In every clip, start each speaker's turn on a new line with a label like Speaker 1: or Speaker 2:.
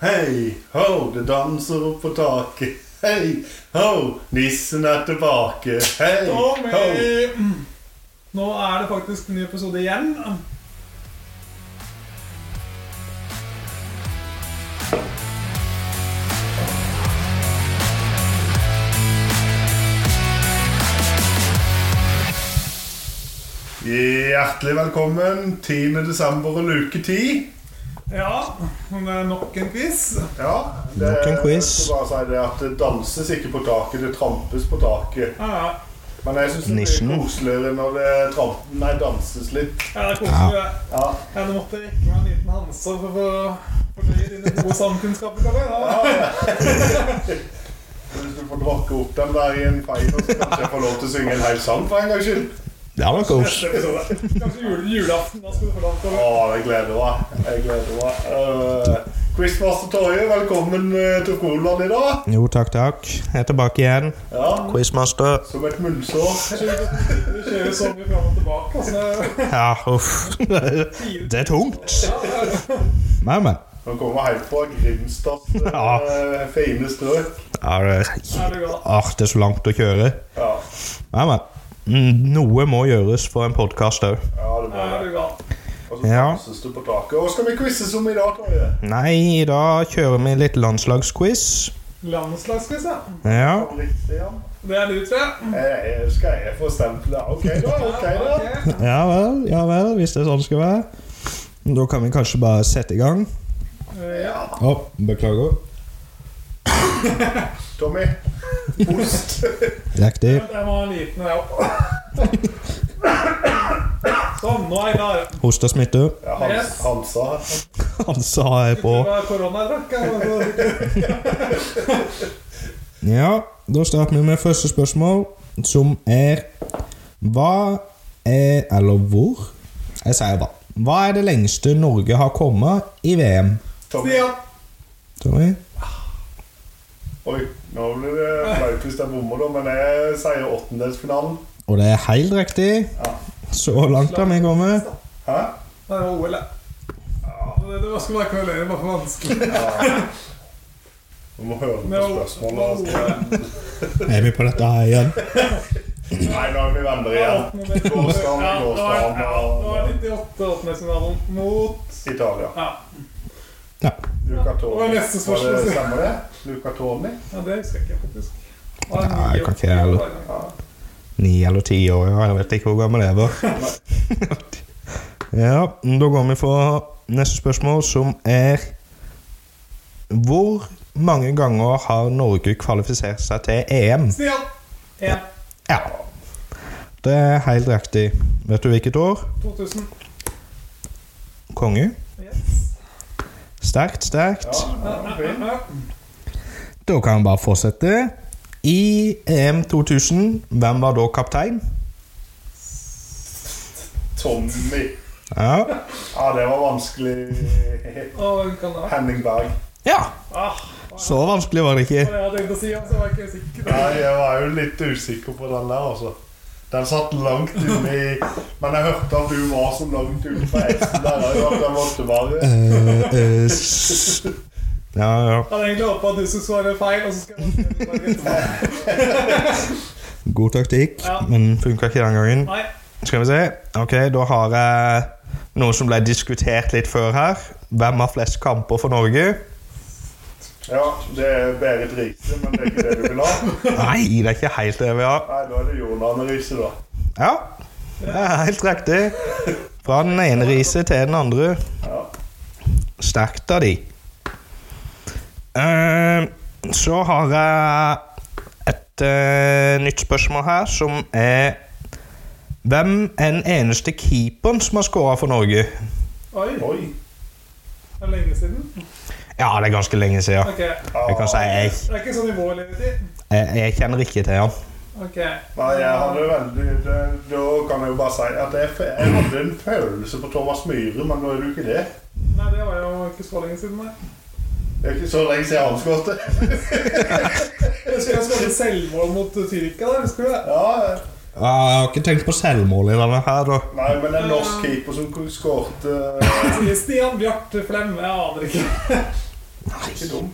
Speaker 1: Hei ho, det danser opp på taket. Hei ho, nissen er tilbake. Hei ho.
Speaker 2: Tommy! Nå er det faktisk en ny episode igjen.
Speaker 1: Hjertelig velkommen. 10. desember og luke 10.
Speaker 2: Ja, det er nok en quiz.
Speaker 1: Ja,
Speaker 3: Nok en quiz.
Speaker 1: jeg skal bare si det at det danses ikke på taket, det trampes på taket.
Speaker 2: Ja, ja.
Speaker 1: Men jeg syns det
Speaker 3: Nissen.
Speaker 1: blir koseligere når det tramp, nei, danses litt.
Speaker 2: Ja, det er koselig. det.
Speaker 1: Ja.
Speaker 2: Ja, nå måtte jeg rekke meg en liten Hanse for å få- fordøye dine gode samkunnskaper. Tommy. Ja.
Speaker 1: Hvis du får drakke opp den der i en feil, så kanskje jeg får lov til å synge en hel sang for en gangs skyld.
Speaker 3: Det hadde vært kos.
Speaker 2: Neste episode. Kanskje jule, julaften. Da skal du få lov til
Speaker 1: Å,
Speaker 2: å
Speaker 1: jeg gleder meg. Jeg gleder meg. Eh, Quizmaster Torje, velkommen eh, til Koland i dag.
Speaker 3: Jo, takk, takk. Jeg er tilbake igjen.
Speaker 1: Ja,
Speaker 3: Quizmaster.
Speaker 1: Som et munnsår.
Speaker 2: Vi kjører så mye fram og tilbake. Altså.
Speaker 3: Ja, uff. Det er tungt. Men, men.
Speaker 1: Nå kommer helt fra Grimstads eh,
Speaker 3: Ja.
Speaker 1: fine strøk.
Speaker 3: Ja, det
Speaker 2: Er
Speaker 3: er,
Speaker 2: det godt?
Speaker 3: ah, det er så langt å kjøre.
Speaker 1: Ja,
Speaker 3: Men, men. Mm, Noe må gjøres for en podkast òg.
Speaker 1: ja det må
Speaker 2: Er
Speaker 1: det.
Speaker 2: du gal?
Speaker 1: Og så
Speaker 3: Ja.
Speaker 1: danses det på taket. Hva skal vi quizes om i dag, Torje?
Speaker 3: Nei, i dag kjører vi litt landslagsquiz.
Speaker 2: Landslagsquiz, ja.
Speaker 3: Ja.
Speaker 1: Riktig, ja.
Speaker 2: Det er du, tror jeg.
Speaker 1: Eh, Skal jeg få stemple? Ok, da. ok da.
Speaker 2: Ok.
Speaker 3: ja vel, ja vel, hvis det er sånn det skal være. Da kan vi kanskje bare sette i gang.
Speaker 2: Ja.
Speaker 3: Å, beklager.
Speaker 1: Tommy. Ost.
Speaker 3: Riktig.
Speaker 2: Jeg må ha en liten, jeg òg. Sånn, nå er jeg klar.
Speaker 3: Hoste smitte.
Speaker 1: Ja, Hans,
Speaker 2: Yes.
Speaker 1: Hansa.
Speaker 3: Han sa jeg
Speaker 2: Jeg
Speaker 3: på.
Speaker 2: tror det var koronadrakk. jeg.
Speaker 3: Ja, da starter vi med første spørsmål, som er Hva er Eller hvor? Jeg sier hva. Hva er det lengste Norge har kommet i VM?
Speaker 1: Tommy.
Speaker 2: Stian.
Speaker 3: Tommy?
Speaker 1: Oi, nå blir det flaut hvis jeg bommer, da, men jeg sier åttendelsfinalen.
Speaker 3: Og det er helt riktig.
Speaker 1: Ja.
Speaker 3: Så langt har vi kommet.
Speaker 1: Hæ?
Speaker 2: Det var OL, ja. Det det var skulle bare korrelere, bare for vanskelig.
Speaker 1: Du må høre
Speaker 2: Det var
Speaker 1: på
Speaker 2: var
Speaker 1: spørsmålet.
Speaker 2: OL.
Speaker 3: Er vi på dette her igjen?
Speaker 1: Nei, nå er vi venner igjen. Gårsdagen,
Speaker 2: Ja, det var-
Speaker 1: gårsdagen
Speaker 2: ja, det var
Speaker 1: og
Speaker 2: 98 åttendedelsfinalen mot
Speaker 1: Italia.
Speaker 2: ja.
Speaker 3: Ja.
Speaker 1: Luca Toni.
Speaker 2: Det var neste spørsmål.
Speaker 1: Var det- Stemmer det? Luca Toni?
Speaker 2: ja, det husker jeg ikke, faktisk. Det var
Speaker 3: Nei, jeg kan ikke
Speaker 2: 98
Speaker 3: heller.
Speaker 2: åttendedelsfinalen.
Speaker 1: Ja.
Speaker 3: Ni eller ti år, ja. Jeg vet ikke hvor gammel jeg var. Ja, da går vi for neste spørsmål, som er Hvor mange ganger har Norge kvalifisert seg til E EM?
Speaker 2: Stian. Ja.
Speaker 3: Ja. Det er helt riktig. Vet du hvilket år?
Speaker 2: 2000.
Speaker 3: Konge.
Speaker 2: Yes.
Speaker 3: Sterkt, sterkt.
Speaker 1: Ja, ja, fin.
Speaker 2: Ja.
Speaker 3: Da kan vi bare fortsette. I EM 2000, hvem var da kaptein?
Speaker 1: Tommy.
Speaker 3: Ja.
Speaker 1: Ja, det var vanskelig.
Speaker 2: Og hvem kan det være?
Speaker 1: Henning Berg.
Speaker 3: ja.
Speaker 2: Ah,
Speaker 3: Så vanskelig var det
Speaker 2: det var
Speaker 3: ikke.
Speaker 2: det jeg hadde tenkt å si, så var jeg ikke sikker.
Speaker 1: Nei, jeg var jo litt usikker på den der, altså. Den satt langt inne i Men jeg hørte at du var så langt ute fra hesten der òg at jeg måtte bare
Speaker 3: Eh, eh, s- ja, ja.
Speaker 2: Jeg hadde egentlig håpet at du skulle svare feil, og så skal jeg bare etterpå.
Speaker 3: God taktikk,
Speaker 2: Ja.
Speaker 3: men funka ikke den gangen.
Speaker 2: Nei.
Speaker 3: Skal vi se. Ok, da har jeg noe som ble diskutert litt før her. Hvem har flest kamper for Norge?
Speaker 1: Ja, det er Berit Riise, men det er ikke det du vil ha.
Speaker 3: Nei, det er ikke helt det vi har.
Speaker 1: Nei, da er det Jon Arne Riise, da.
Speaker 3: Ja, det er helt riktig. Fra den ene riset til den andre.
Speaker 1: Ja.
Speaker 3: Sterkt av de. Eh, Så har jeg et eh, nytt spørsmål her, som er Hvem er den eneste keeperen som har skåra for Norge?
Speaker 2: Oi,
Speaker 1: Oi.
Speaker 2: det er lenge siden.
Speaker 3: Ja, det er ganske lenge siden.
Speaker 2: Ok.
Speaker 3: Jeg kan si jeg,
Speaker 2: Det er ikke sånn nivå i levetid.
Speaker 3: jeg, jeg kjenner ikke til han.
Speaker 2: Ok.
Speaker 1: Nei, jeg hadde veldig det- Da kan jeg jo bare si at jeg, f- jeg hadde en følelse på Thomas Myhre, men nå er det jo ikke det.
Speaker 2: Nei, det var jo ikke så lenge siden, nei.
Speaker 1: Det er ikke så lenge siden han skåret.
Speaker 2: Jeg husker jeg skåret selvmål mot Tyrkia der, husker du det?
Speaker 1: Ja,
Speaker 3: Ja, Jeg har ikke tenkt på selvmål i denne her, da.
Speaker 1: nei, men en norsk keeper som skåret eh,
Speaker 2: Stian Bjarte Flem, jeg aner ikke.
Speaker 3: Nei,
Speaker 1: ikke dum.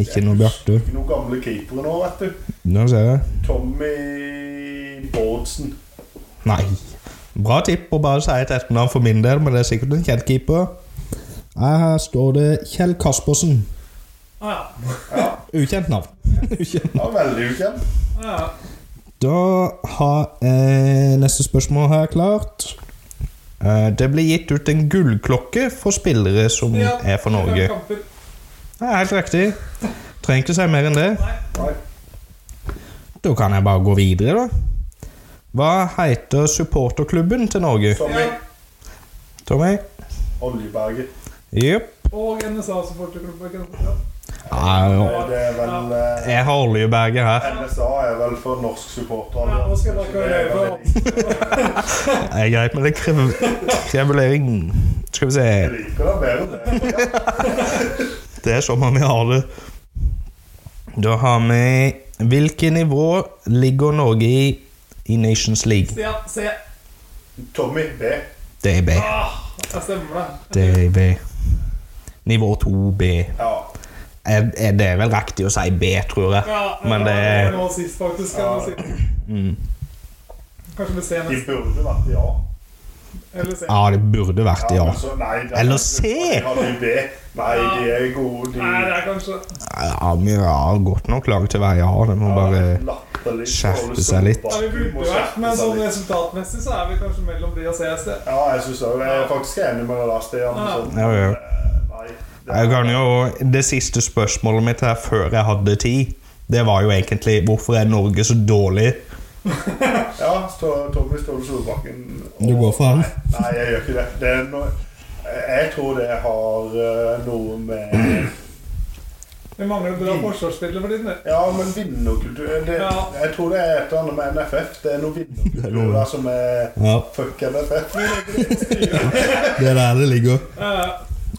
Speaker 3: Ikke noe Bjarte.
Speaker 1: Ikke noen gamle keepere nå, vet du.
Speaker 3: Nå ser jeg.
Speaker 1: Tommy Bårdsen.
Speaker 3: Nei. Bra tipp å bare si et etternavn for min del, men det er sikkert en kjent keeper. Eh, Her står det Kjell Kaspersen.
Speaker 2: Ah, ja.
Speaker 3: Ukjent navn. Ukjent.
Speaker 1: Ja, veldig ukjent.
Speaker 2: Ah, ja.
Speaker 3: Da har jeg neste spørsmål her klart. Eh, Det blir gitt ut en gullklokke for spillere som
Speaker 2: Ja,
Speaker 3: er for Norge.
Speaker 2: fem kamper.
Speaker 3: Det er helt riktig. Trenger ikke si mer enn det.
Speaker 2: Nei.
Speaker 1: Nei.
Speaker 3: Da kan jeg bare gå videre, da. Hva heter supporterklubben til Norge?
Speaker 1: Tommy
Speaker 2: Ja.
Speaker 3: Tommy?
Speaker 1: Oljeberget.
Speaker 3: Jepp.
Speaker 2: Og NSA-supporterklubb. ikke sant? Ja.
Speaker 3: Au.
Speaker 1: Og Det er vel eh,
Speaker 3: Jeg har oljeberget her.
Speaker 1: NSA er vel for norsk supporter.
Speaker 2: Ja, nå skal dere
Speaker 1: Så det er
Speaker 2: høre.
Speaker 1: vel litt-
Speaker 3: Det er greit, men det krever krevulering. Skal vi se
Speaker 1: Jeg liker det bedre enn det.
Speaker 3: Det er sånn vi har det. Da har vi Hvilket nivå ligger Norge i i Nations League?
Speaker 2: Se, ja, se.
Speaker 1: Tommy B.
Speaker 3: Det er B.
Speaker 2: Ah, jeg stemmer det.
Speaker 3: Det er B. Nivå 2B.
Speaker 1: Ja.
Speaker 3: Er, er det vel riktig å si B, tror jeg.
Speaker 2: Ja,
Speaker 3: Men det
Speaker 2: er
Speaker 3: er
Speaker 2: nå sist, faktisk. Kan
Speaker 1: Ja.
Speaker 2: man si.
Speaker 3: mm.
Speaker 2: Kanskje vi ser
Speaker 1: De
Speaker 2: neste.
Speaker 1: burde vært ja.
Speaker 2: Eller ser.
Speaker 3: Ja, det burde vært ja.
Speaker 1: men så- nei, det er-
Speaker 3: Eller C.
Speaker 1: Ja, de B. Nei, de er gode. De
Speaker 2: Nei, det er kanskje
Speaker 3: Ja, Vi har godt nok lag til å være ja. Det må bare
Speaker 1: latterlig.
Speaker 3: skjerpe seg litt.
Speaker 2: Ja, vi
Speaker 1: Du må
Speaker 2: burde vært,
Speaker 1: skjerpe
Speaker 2: men
Speaker 1: seg
Speaker 2: sånn
Speaker 1: litt.
Speaker 2: resultatmessig så er vi kanskje mellom de og CS. det.
Speaker 1: Ja, jeg synes også, jeg er faktisk enig med deg, Stian. Sånn,
Speaker 3: Ja, ja.
Speaker 1: eh, Nei, det
Speaker 3: Jeg kan jo, Det siste spørsmålet mitt her før jeg hadde tid, det var jo egentlig hvorfor er Norge så dårlig?
Speaker 1: Ja, Stå- Tommy Ståle Solbakken.
Speaker 3: Du går for han.
Speaker 1: Nei, jeg gjør ikke det. det er noe, jeg tror det har eh, noe med
Speaker 2: Vi mangler bra forsvarsspillere for tiden. det.
Speaker 1: Ja, men vinnerkultur eh, det,
Speaker 2: Ja.
Speaker 1: Jeg tror det er et eller annet med NFF. Det er noe
Speaker 3: Det er noe.
Speaker 1: vinnerkultur der som er
Speaker 3: Ja,
Speaker 1: Fuck NFF.
Speaker 3: det er der det ligger.
Speaker 2: Eh,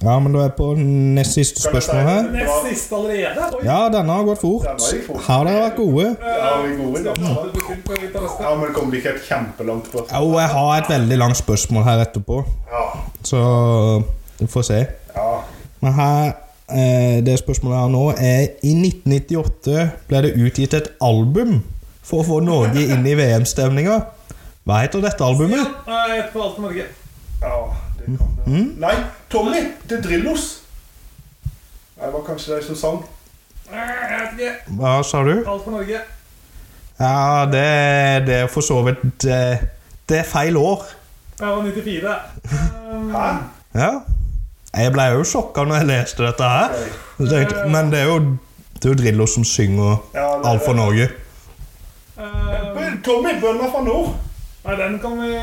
Speaker 3: Ja, men da er jeg på nest siste
Speaker 1: Kan jeg si
Speaker 3: spørsmål her.
Speaker 1: det?
Speaker 2: Nest siste allerede? Oi!
Speaker 3: Ja, denne har gått fort.
Speaker 1: Den har gått fort.
Speaker 3: Her har dere vært gode.
Speaker 1: Ja, vi er gode i
Speaker 2: Skal
Speaker 1: dag.
Speaker 2: prate betydelig på litt av resten.
Speaker 1: Ja, men det kommer ikke et kjempelangt på.
Speaker 3: Jo, jeg har et veldig langt spørsmål her etterpå,
Speaker 1: Ja.
Speaker 3: så vi får se.
Speaker 1: ja.
Speaker 3: Men her, eh, det spørsmålet jeg har nå, er I 1998 ble det utgitt et album for å få Norge inn i VM-stemninga. Hva heter dette albumet?
Speaker 2: Eh, Ett på alt for Norge.
Speaker 1: Ja, det kan det.
Speaker 3: Mm.
Speaker 1: Nei, Tommy! Det er Drillos. Nei, Det var kanskje de som sang.
Speaker 2: Eh, Jeg vet ikke.
Speaker 3: Hva sa du?
Speaker 2: Alt for Norge.
Speaker 3: Ja, det, det er for så vidt eh, Det er feil år.
Speaker 2: Jeg var 94. Um,
Speaker 1: Hæ?
Speaker 3: Ja. Jeg ble jo sjokka når jeg leste dette her. Jeg tenkte, Men det er jo, det er jo Drillo som synger
Speaker 1: Ja, det-
Speaker 3: Alt for Norge.
Speaker 2: eh,
Speaker 1: Men Tommy, bønder fra nord.
Speaker 2: um, Nei, den kom i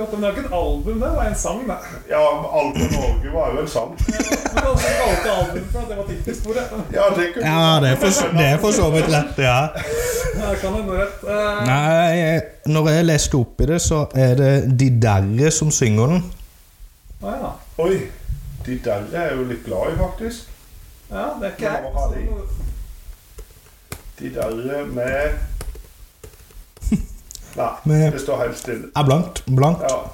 Speaker 2: 98, men det var ikke et album, det var en sang, det. Eh,
Speaker 1: Ja, Alt for Norge var jo en sang.
Speaker 2: Men det var også et alt album, for at det var tittelsporet.
Speaker 1: Ja, det kunne
Speaker 3: Ja, det er for, så- det er for så vidt lett, det her.
Speaker 2: Jeg kan hende rett. Eh,
Speaker 3: Nei, jeg- når jeg leste opp i det, så er det de derre som synger den.
Speaker 2: Å ja.
Speaker 1: Oi. De der er jeg jo litt glad i, faktisk.
Speaker 2: ja. Det er ikke
Speaker 1: Hva har de?
Speaker 2: jeg.
Speaker 1: De der med Nei,
Speaker 3: Med-
Speaker 1: det står helt stille.
Speaker 3: Er blankt. Blankt.
Speaker 1: Ja.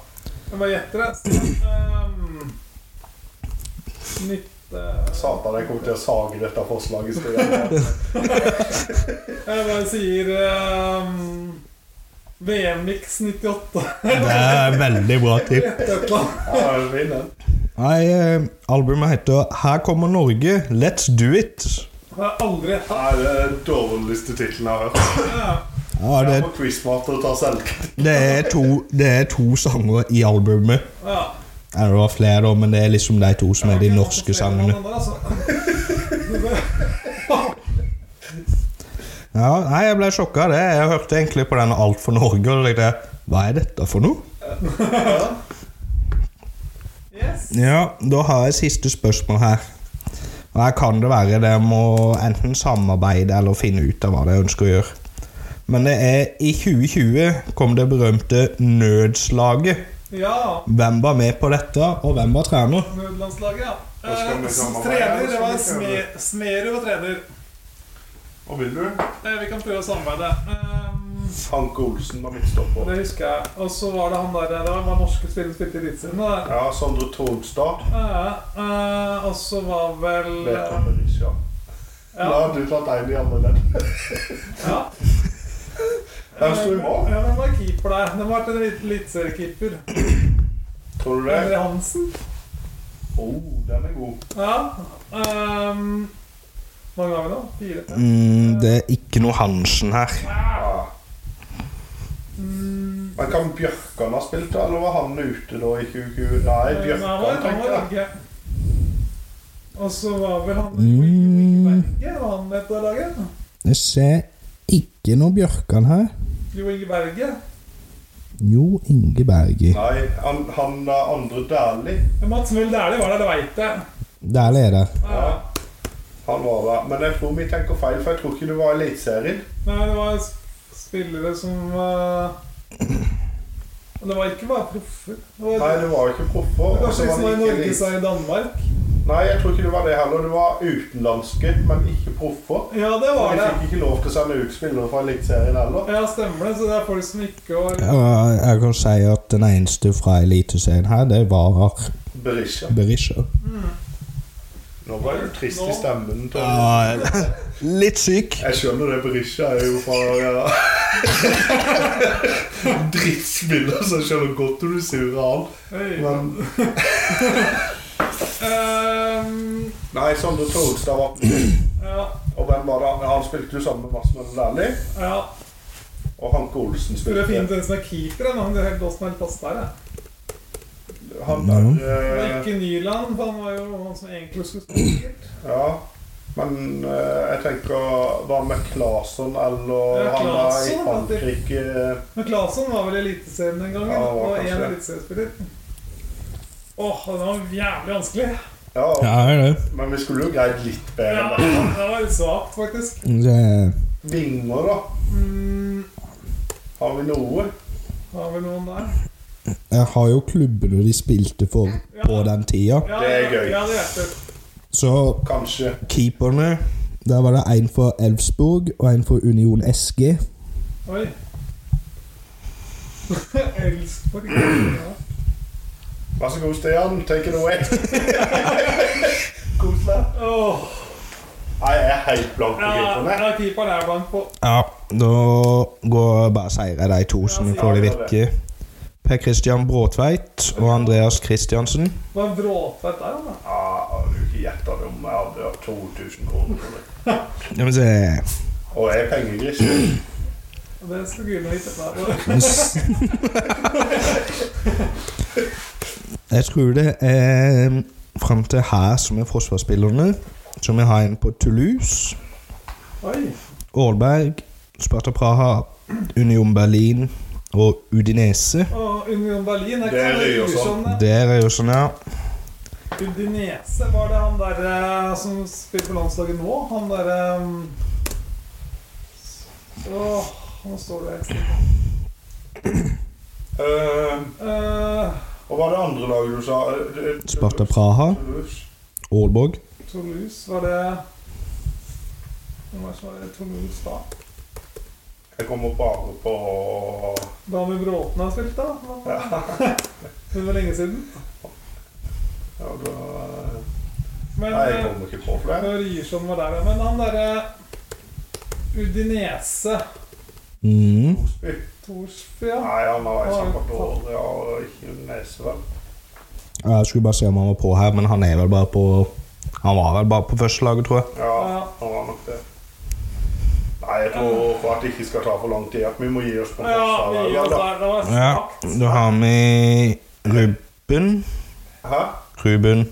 Speaker 2: Jeg bare gjetter det. Stian, ehm, nytt eh,
Speaker 1: Satan, jeg kommer til å sage dette forslaget. Stian.
Speaker 2: Jeg bare sier ehm, VM-mix 98.
Speaker 3: Det er et veldig bra tipp.
Speaker 2: Et eller annet.
Speaker 1: Ja, jeg vinner.
Speaker 3: Nei, eh, albumet heter 'Her kommer Norge, let's do it'.
Speaker 2: Jeg har aldri gjetta.
Speaker 1: Nei, det er den dårligste tittelen jeg har hørt.
Speaker 3: Ja,
Speaker 1: Jeg
Speaker 3: det,
Speaker 1: må quizmaster og ta selvkritikk.
Speaker 3: det, er to, det er to sanger i albumet.
Speaker 2: Ja.
Speaker 3: Ja, Det var flere, da, men det er liksom de to som er de norske sangene.
Speaker 2: altså?
Speaker 3: Ja, nei, Jeg ble sjokka. av det. Jeg hørte egentlig på den 'Alt for Norge'. og tenkte jeg, Hva er dette for noe?
Speaker 2: Yes.
Speaker 3: Ja, da har jeg siste spørsmål her. Og her kan det være det må enten samarbeide eller finne ut av hva de ønsker å gjøre. Men det er i 2020 kom det berømte nødslaget.
Speaker 2: Ja.
Speaker 3: Hvem var med på dette, og hvem var trener?
Speaker 2: Nødlandslaget, ja.
Speaker 1: Da skal vi
Speaker 2: Eh,
Speaker 1: samarbeide,
Speaker 2: trener,
Speaker 1: da
Speaker 2: det
Speaker 1: skal
Speaker 2: var
Speaker 1: vi prøve.
Speaker 2: Sme- Smerud var trener.
Speaker 1: Og vil du?
Speaker 2: Eh, Vi kan prøve å samarbeide. Ehm,
Speaker 1: Hanke Olsen var midtstopper.
Speaker 2: Det husker jeg. Og så var det han der Det var var norske spillere som spilte i Eliteserien. da.
Speaker 1: Ja, Sondre Tronstad.
Speaker 2: Eh, eh, Og så var vel eh,
Speaker 1: Vedkommende, ja. Da har du tatt en i andre ledd.
Speaker 2: Ja.
Speaker 1: Den sto i mål.
Speaker 2: Ja, den var keeper der. Den var til en liten eliteseriekeeper.
Speaker 1: Tror du
Speaker 2: Henry
Speaker 1: det?
Speaker 2: Hansen.
Speaker 1: Oh, den er god.
Speaker 2: Ja. ehm, mange ganger nå? Fire? fem?
Speaker 3: Mm, det er ikke noe Hansen her.
Speaker 1: Ah.
Speaker 2: Mm,
Speaker 1: Men kan Bjørkan ha spilt, da? Eller var han ute da i 2020? Nei,
Speaker 2: eh, men han var-
Speaker 1: Bjørkan,
Speaker 2: han
Speaker 1: tenker
Speaker 2: var
Speaker 1: jeg.
Speaker 2: ikke Og så var vel han
Speaker 3: Mm.
Speaker 2: Berge, var han med på det laget?
Speaker 3: Jeg ser ikke noe Bjørkan her.
Speaker 2: Jo Inge Berge.
Speaker 3: Jo Inge Bergi.
Speaker 1: Nei, han, han er andre Dæhlie.
Speaker 2: Men Mats Møhl Dæhlie var der, det veit jeg.
Speaker 3: Der leder.
Speaker 2: Ja.
Speaker 1: Ja. Han var der. Men jeg tror vi tenker feil, for jeg tror ikke det var Eliteserien.
Speaker 2: Nei, det var sp- spillere som eh, Det var ikke bare proffer. Det var,
Speaker 1: Nei, det var ikke proffer. og så
Speaker 2: kanskje de som var i
Speaker 1: det ikke
Speaker 2: Norge,
Speaker 1: elit-
Speaker 2: sa i Danmark.
Speaker 1: Nei, jeg tror ikke det var det heller. Det var utenlandske, men ikke proffer.
Speaker 2: Ja, det
Speaker 1: Og
Speaker 2: var
Speaker 1: de
Speaker 2: det.
Speaker 1: fikk ikke lov til å sende ut spillere fra Eliteserien heller.
Speaker 2: Ja, stemmer det. Så det er folk som ikke var
Speaker 3: Og jeg kan si at den eneste fra Eliteserien her, det var
Speaker 1: Berisha.
Speaker 3: Berisha.
Speaker 1: Nå ble du trist i stemmen. Tom.
Speaker 3: litt syk.
Speaker 1: Jeg skjønner det, Berisha er jo fra ja. Drittspiller, så jeg skjønner godt om du surer av.
Speaker 2: Oi.
Speaker 1: Men
Speaker 2: Ehm,
Speaker 1: Nei, Sondre Torstad var
Speaker 2: ja,
Speaker 1: Og hvem var det? han- Han spilte jo sammen med Mads Møller Dæhlie.
Speaker 2: ja.
Speaker 1: Og Hanke Olsen
Speaker 2: Skulle
Speaker 1: spilte.
Speaker 2: fint en som er keeper, men han er helt låst med helt fast der. jeg.
Speaker 1: Han der
Speaker 2: Det var
Speaker 1: eh,
Speaker 2: ikke Nyland, for han var jo han som egentlig skulle spille.
Speaker 1: Ja. Men eh, jeg tenker Var det med Claesson eller
Speaker 2: Ja,
Speaker 1: han der i
Speaker 2: Claesson,
Speaker 1: Frankrike
Speaker 2: Men Claesson var vel i Eliteserien den gangen.
Speaker 1: Ja, han var
Speaker 2: og
Speaker 1: kanskje
Speaker 2: én
Speaker 1: det.
Speaker 2: eliteseriespiller. Åh, den var jævlig vanskelig.
Speaker 1: Ja,
Speaker 3: Ja, det er det.
Speaker 1: men vi skulle jo greid litt bedre
Speaker 2: Ja,
Speaker 1: enn det.
Speaker 2: den var litt svakt, faktisk.
Speaker 3: det.
Speaker 1: Vinger, da.
Speaker 2: Mm,
Speaker 1: Har vi noe?
Speaker 2: var vel noen der.
Speaker 3: Jeg har jo klubbene de spilte for på den tida.
Speaker 2: Ja,
Speaker 1: Det er gøy.
Speaker 2: Ja, det er det.
Speaker 3: Så
Speaker 1: Kanskje.
Speaker 3: keeperne Der var det en for Elfsborg og en for Union SG.
Speaker 2: Oi. Elfsborg. Ja.
Speaker 1: Vær så god, Stian. Take it away. Kos deg.
Speaker 2: Åh,
Speaker 1: Nei, jeg er helt blank på
Speaker 2: ja,
Speaker 1: gripene.
Speaker 2: ja, keeperen er blank på.
Speaker 3: Ja, da går bare seier de to som får det virke. Per Christian Bråtveit og Andreas Christiansen.
Speaker 2: Var Bråtvedt der, da?
Speaker 1: Ja, har du ikke gjetta det om jeg hadde hatt 2000 kroner for det?
Speaker 3: Ja, men se.
Speaker 1: Og jeg er pengegris.
Speaker 2: Og Det skal gudene vite. Da.
Speaker 3: Jeg tror det er fram til her som er forsvarsspillerne. Så vi har en på Toulouse,
Speaker 2: Oi.
Speaker 3: Aalberg, Sparta Praha, Union Berlin og Udinese.
Speaker 2: Og Union Berlin er
Speaker 1: Det er
Speaker 2: ikke
Speaker 1: Ryerson.
Speaker 2: sånn.
Speaker 3: Der er jo sånn, ja.
Speaker 2: Udinese, var det han der eh, som spiller på landslaget nå? Han der um... Åh, nå står det helt
Speaker 1: Eh,
Speaker 2: stille. Eh,
Speaker 1: og hva er det andre laget du sa? Eh, eh,
Speaker 3: Sparta Praha,
Speaker 1: Toulouse.
Speaker 3: Aalborg.
Speaker 2: Toulouse, var det Hvem var det som var i Toulouse da?
Speaker 1: Jeg kommer bare på
Speaker 2: Da med Bråten har spilt, da? Det var lenge siden.
Speaker 1: ja, da- eh,
Speaker 2: Men
Speaker 1: Nei, jeg
Speaker 2: eh,
Speaker 1: kommer ikke på flere.
Speaker 2: Når Ryerson var der, ja. Men han derre Udinese
Speaker 3: Mm.
Speaker 1: Osby.
Speaker 2: Torsby, ja.
Speaker 1: Nei, han har jeg snakket over. Jeg har ikke nese, vel.
Speaker 3: Jeg skulle bare se om han var på her, men han er vel bare på Han var vel bare på førstelaget, tror jeg.
Speaker 1: Ja, han var nok det. Nei, jeg tror for at det ikke skal ta for lang tid, at vi må gi oss på
Speaker 2: Ja,
Speaker 1: Mostar.
Speaker 2: vi
Speaker 1: vel,
Speaker 2: gjør
Speaker 1: da.
Speaker 2: det der. Det var
Speaker 3: Ja,
Speaker 2: svakt.
Speaker 3: da har vi Ruben.
Speaker 1: Hæ?
Speaker 3: Ruben,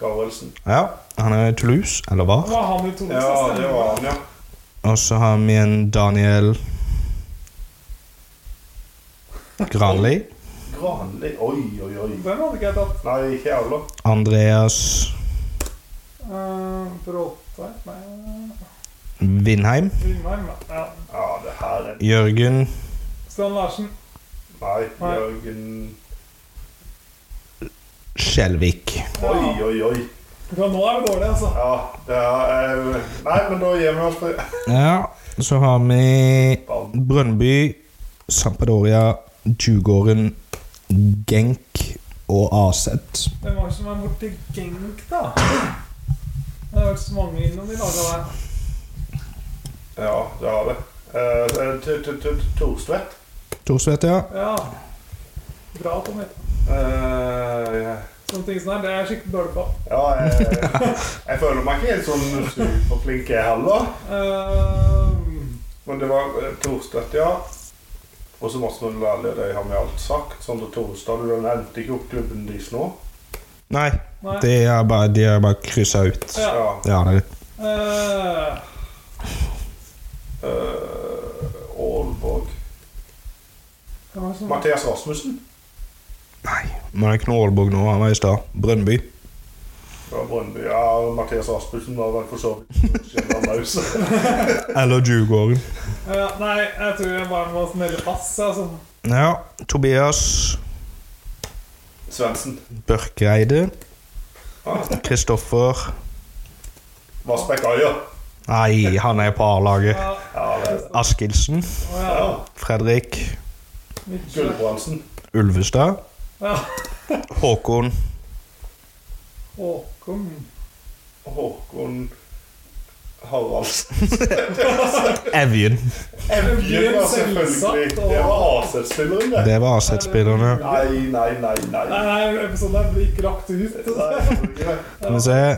Speaker 1: Karelsen.
Speaker 3: ja. Han er i Toulouse, eller hva?
Speaker 2: Var han i Toulouse?
Speaker 1: Ja,
Speaker 2: stemmer
Speaker 1: det var han, ja.
Speaker 3: Og så har vi en Daniel Granli.
Speaker 1: Granli. Oi, oi, oi.
Speaker 2: Den hadde ikke jeg tatt.
Speaker 1: Nei, ikke jeg heller.
Speaker 3: Andreas
Speaker 2: Uh, Bråtveit Nei,
Speaker 3: Vindheim.
Speaker 2: Vindheim. ja. Ja.
Speaker 1: Ja, det her er
Speaker 3: Jørgen
Speaker 2: Strand Larsen.
Speaker 1: Nei,
Speaker 2: Nei.
Speaker 1: Jørgen
Speaker 3: Skjelvik.
Speaker 1: Oi, oi, oi.
Speaker 2: Ja, nå er vi dårlige, altså.
Speaker 1: Ja, det er eh, Nei, men da gir vi oss på
Speaker 3: Ja, så har vi Brøndby, Sampadoria, Djugården, Genk og AZ.
Speaker 2: Hvem var det som var borti Genk, da? Det har vært så mange innom de laga der.
Speaker 1: Ja, det har det. Eh, t- t- t- Thorstvedt.
Speaker 3: Thorstvedt, ja.
Speaker 2: Ja. Bra, Tommy.
Speaker 1: Eh,
Speaker 2: Sånne ting som er, det er jeg skikkelig dårlig på.
Speaker 1: Ja, jeg, jeg føler meg ikke helt sånn superflink, jeg heller.
Speaker 2: Ehm,
Speaker 1: Men det var eh, Thorstvedt, ja. Og så masse med lærlige, det har vi alt sagt. Sånn, Sondre Thorstad, du nevnte ikke opp klubben deres nå.
Speaker 3: Nei,
Speaker 2: nei.
Speaker 3: de har bare, de har bare kryssa ut.
Speaker 2: Ja.
Speaker 1: Ja.
Speaker 3: Ja, det
Speaker 2: Eh,
Speaker 1: Eh, Aalborg.
Speaker 2: hvem var det som-
Speaker 1: Mathias Rasmussen.
Speaker 3: Nei, men det er ikke noe Aalborg nå. Han var i stad. Brønnby.
Speaker 1: Ja, Brøndby. Ja, Mathias Rasmussen var vel for så vidt skjellandaus.
Speaker 3: Eller Djurgården.
Speaker 2: Eh, nei, jeg tror jeg bare må smelle pass. jeg, Altså.
Speaker 3: Ja. Tobias
Speaker 1: Svendsen.
Speaker 3: Børkereide.
Speaker 1: Ah.
Speaker 3: Kristoffer
Speaker 1: Vassbekk Aja.
Speaker 3: Nei, han er på A-laget.
Speaker 2: Ja,
Speaker 1: Ja, det er
Speaker 3: Askildsen.
Speaker 2: å
Speaker 1: ja.
Speaker 2: ja.
Speaker 3: Fredrik
Speaker 2: Mitchell.
Speaker 1: Gulbrandsen.
Speaker 3: Ulvestad.
Speaker 2: Ja.
Speaker 3: Håkon
Speaker 2: Håkon
Speaker 1: Håkon Haraldsen.
Speaker 3: Evjen.
Speaker 1: Evjen var
Speaker 2: Selvsagt,
Speaker 1: selvfølgelig
Speaker 2: og-
Speaker 1: Det var AZ-spilleren, det.
Speaker 3: Det var AZ-spillerne.
Speaker 1: Nei, nei, nei, nei.
Speaker 2: Nei, nei, episoden her blir ikke lagt ut.
Speaker 1: Nei, jeg tror ikke det.
Speaker 3: Skal vi se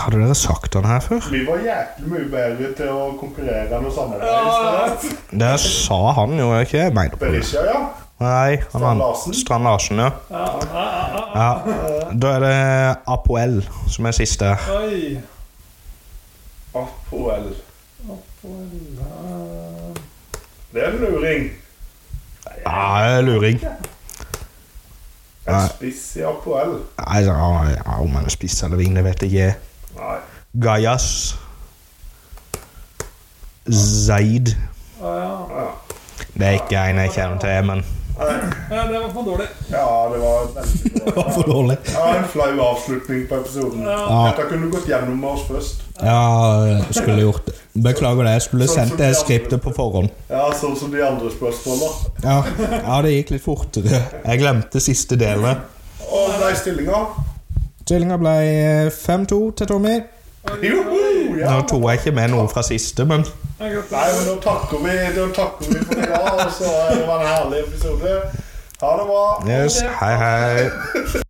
Speaker 3: Hadde dere sagt han her før?
Speaker 1: Vi var jæklig mye bedre til å konkurrere enn å
Speaker 2: Ja,
Speaker 1: samarbeide.
Speaker 3: Det sa han jo, er ikke jeg mener på det.
Speaker 1: Berisha, ja.
Speaker 3: Nei, han
Speaker 1: Strand
Speaker 3: andre.
Speaker 1: Larsen.
Speaker 3: Strand Larsen, ja.
Speaker 2: ja, ja, ja.
Speaker 3: ja. Da er det Apoel som er siste.
Speaker 2: Oi.
Speaker 1: Apoel.
Speaker 2: Apple, eh,
Speaker 1: Det er en luring.
Speaker 3: Ja, luring. Nei.
Speaker 1: En spiss i Apoel.
Speaker 3: Nei, så- ja, Om han er spiss eller ving, det vet jeg ikke.
Speaker 1: Nei.
Speaker 3: Gajas Zaid.
Speaker 2: Å ja.
Speaker 1: Ja.
Speaker 3: Det er ikke en jeg kjenner til, men
Speaker 2: ja. Det var for dårlig.
Speaker 1: ja, det var veldig bra.
Speaker 3: dårlig.
Speaker 1: Ja, en flau avslutning på episoden.
Speaker 2: Ja.
Speaker 1: Dette kunne du gått gjennom med oss først.
Speaker 3: Ja, jeg skulle gjort det. Beklager det, jeg skulle sendt det skriptet på forhånd.
Speaker 1: Ja, Sånn som de andre spørsmålene.
Speaker 3: Ja, ja det gikk litt fortere. Jeg glemte siste delen.
Speaker 1: Og de stillinga
Speaker 3: Stillinga ble eh, 5-2 til Tommy.
Speaker 1: Joho! Ja.
Speaker 3: Nå tror jeg ikke med noe fra siste, men
Speaker 1: Nei,
Speaker 2: Jeg
Speaker 1: men
Speaker 2: gratulerer.
Speaker 1: nå takker vi, nå takker vi for i dag, og så er det var en herlig episode. Ha det bra.
Speaker 3: yes, hei, hei.